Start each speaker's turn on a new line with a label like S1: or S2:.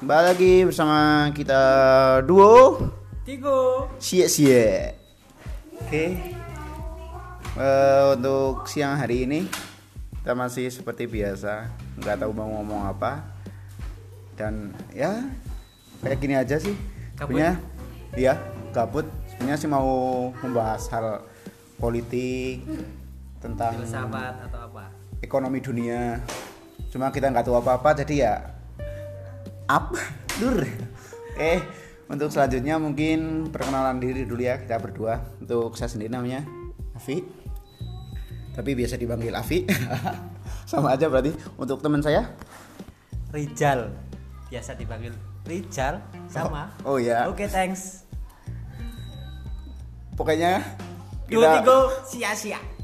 S1: Kembali lagi bersama kita duo
S2: Tigo.
S1: Sia Sia. Oke. Eh, untuk siang hari ini kita masih seperti biasa, nggak tahu mau ngomong apa. Dan ya kayak gini aja sih.
S2: Kabut.
S1: Sebenarnya iya, kabut. Sebenarnya sih mau membahas hal politik tentang
S2: Filsafat atau apa?
S1: ekonomi dunia cuma kita nggak tahu apa-apa jadi ya up dur eh untuk selanjutnya mungkin perkenalan diri dulu ya kita berdua untuk saya sendiri namanya Afi tapi biasa dipanggil Afi sama aja berarti untuk teman saya
S2: Rijal. Biasa dipanggil Rijal sama.
S1: Oh, oh ya.
S2: Oke, thanks.
S1: pokoknya
S2: Duo
S1: kita
S2: Tigo sia-sia.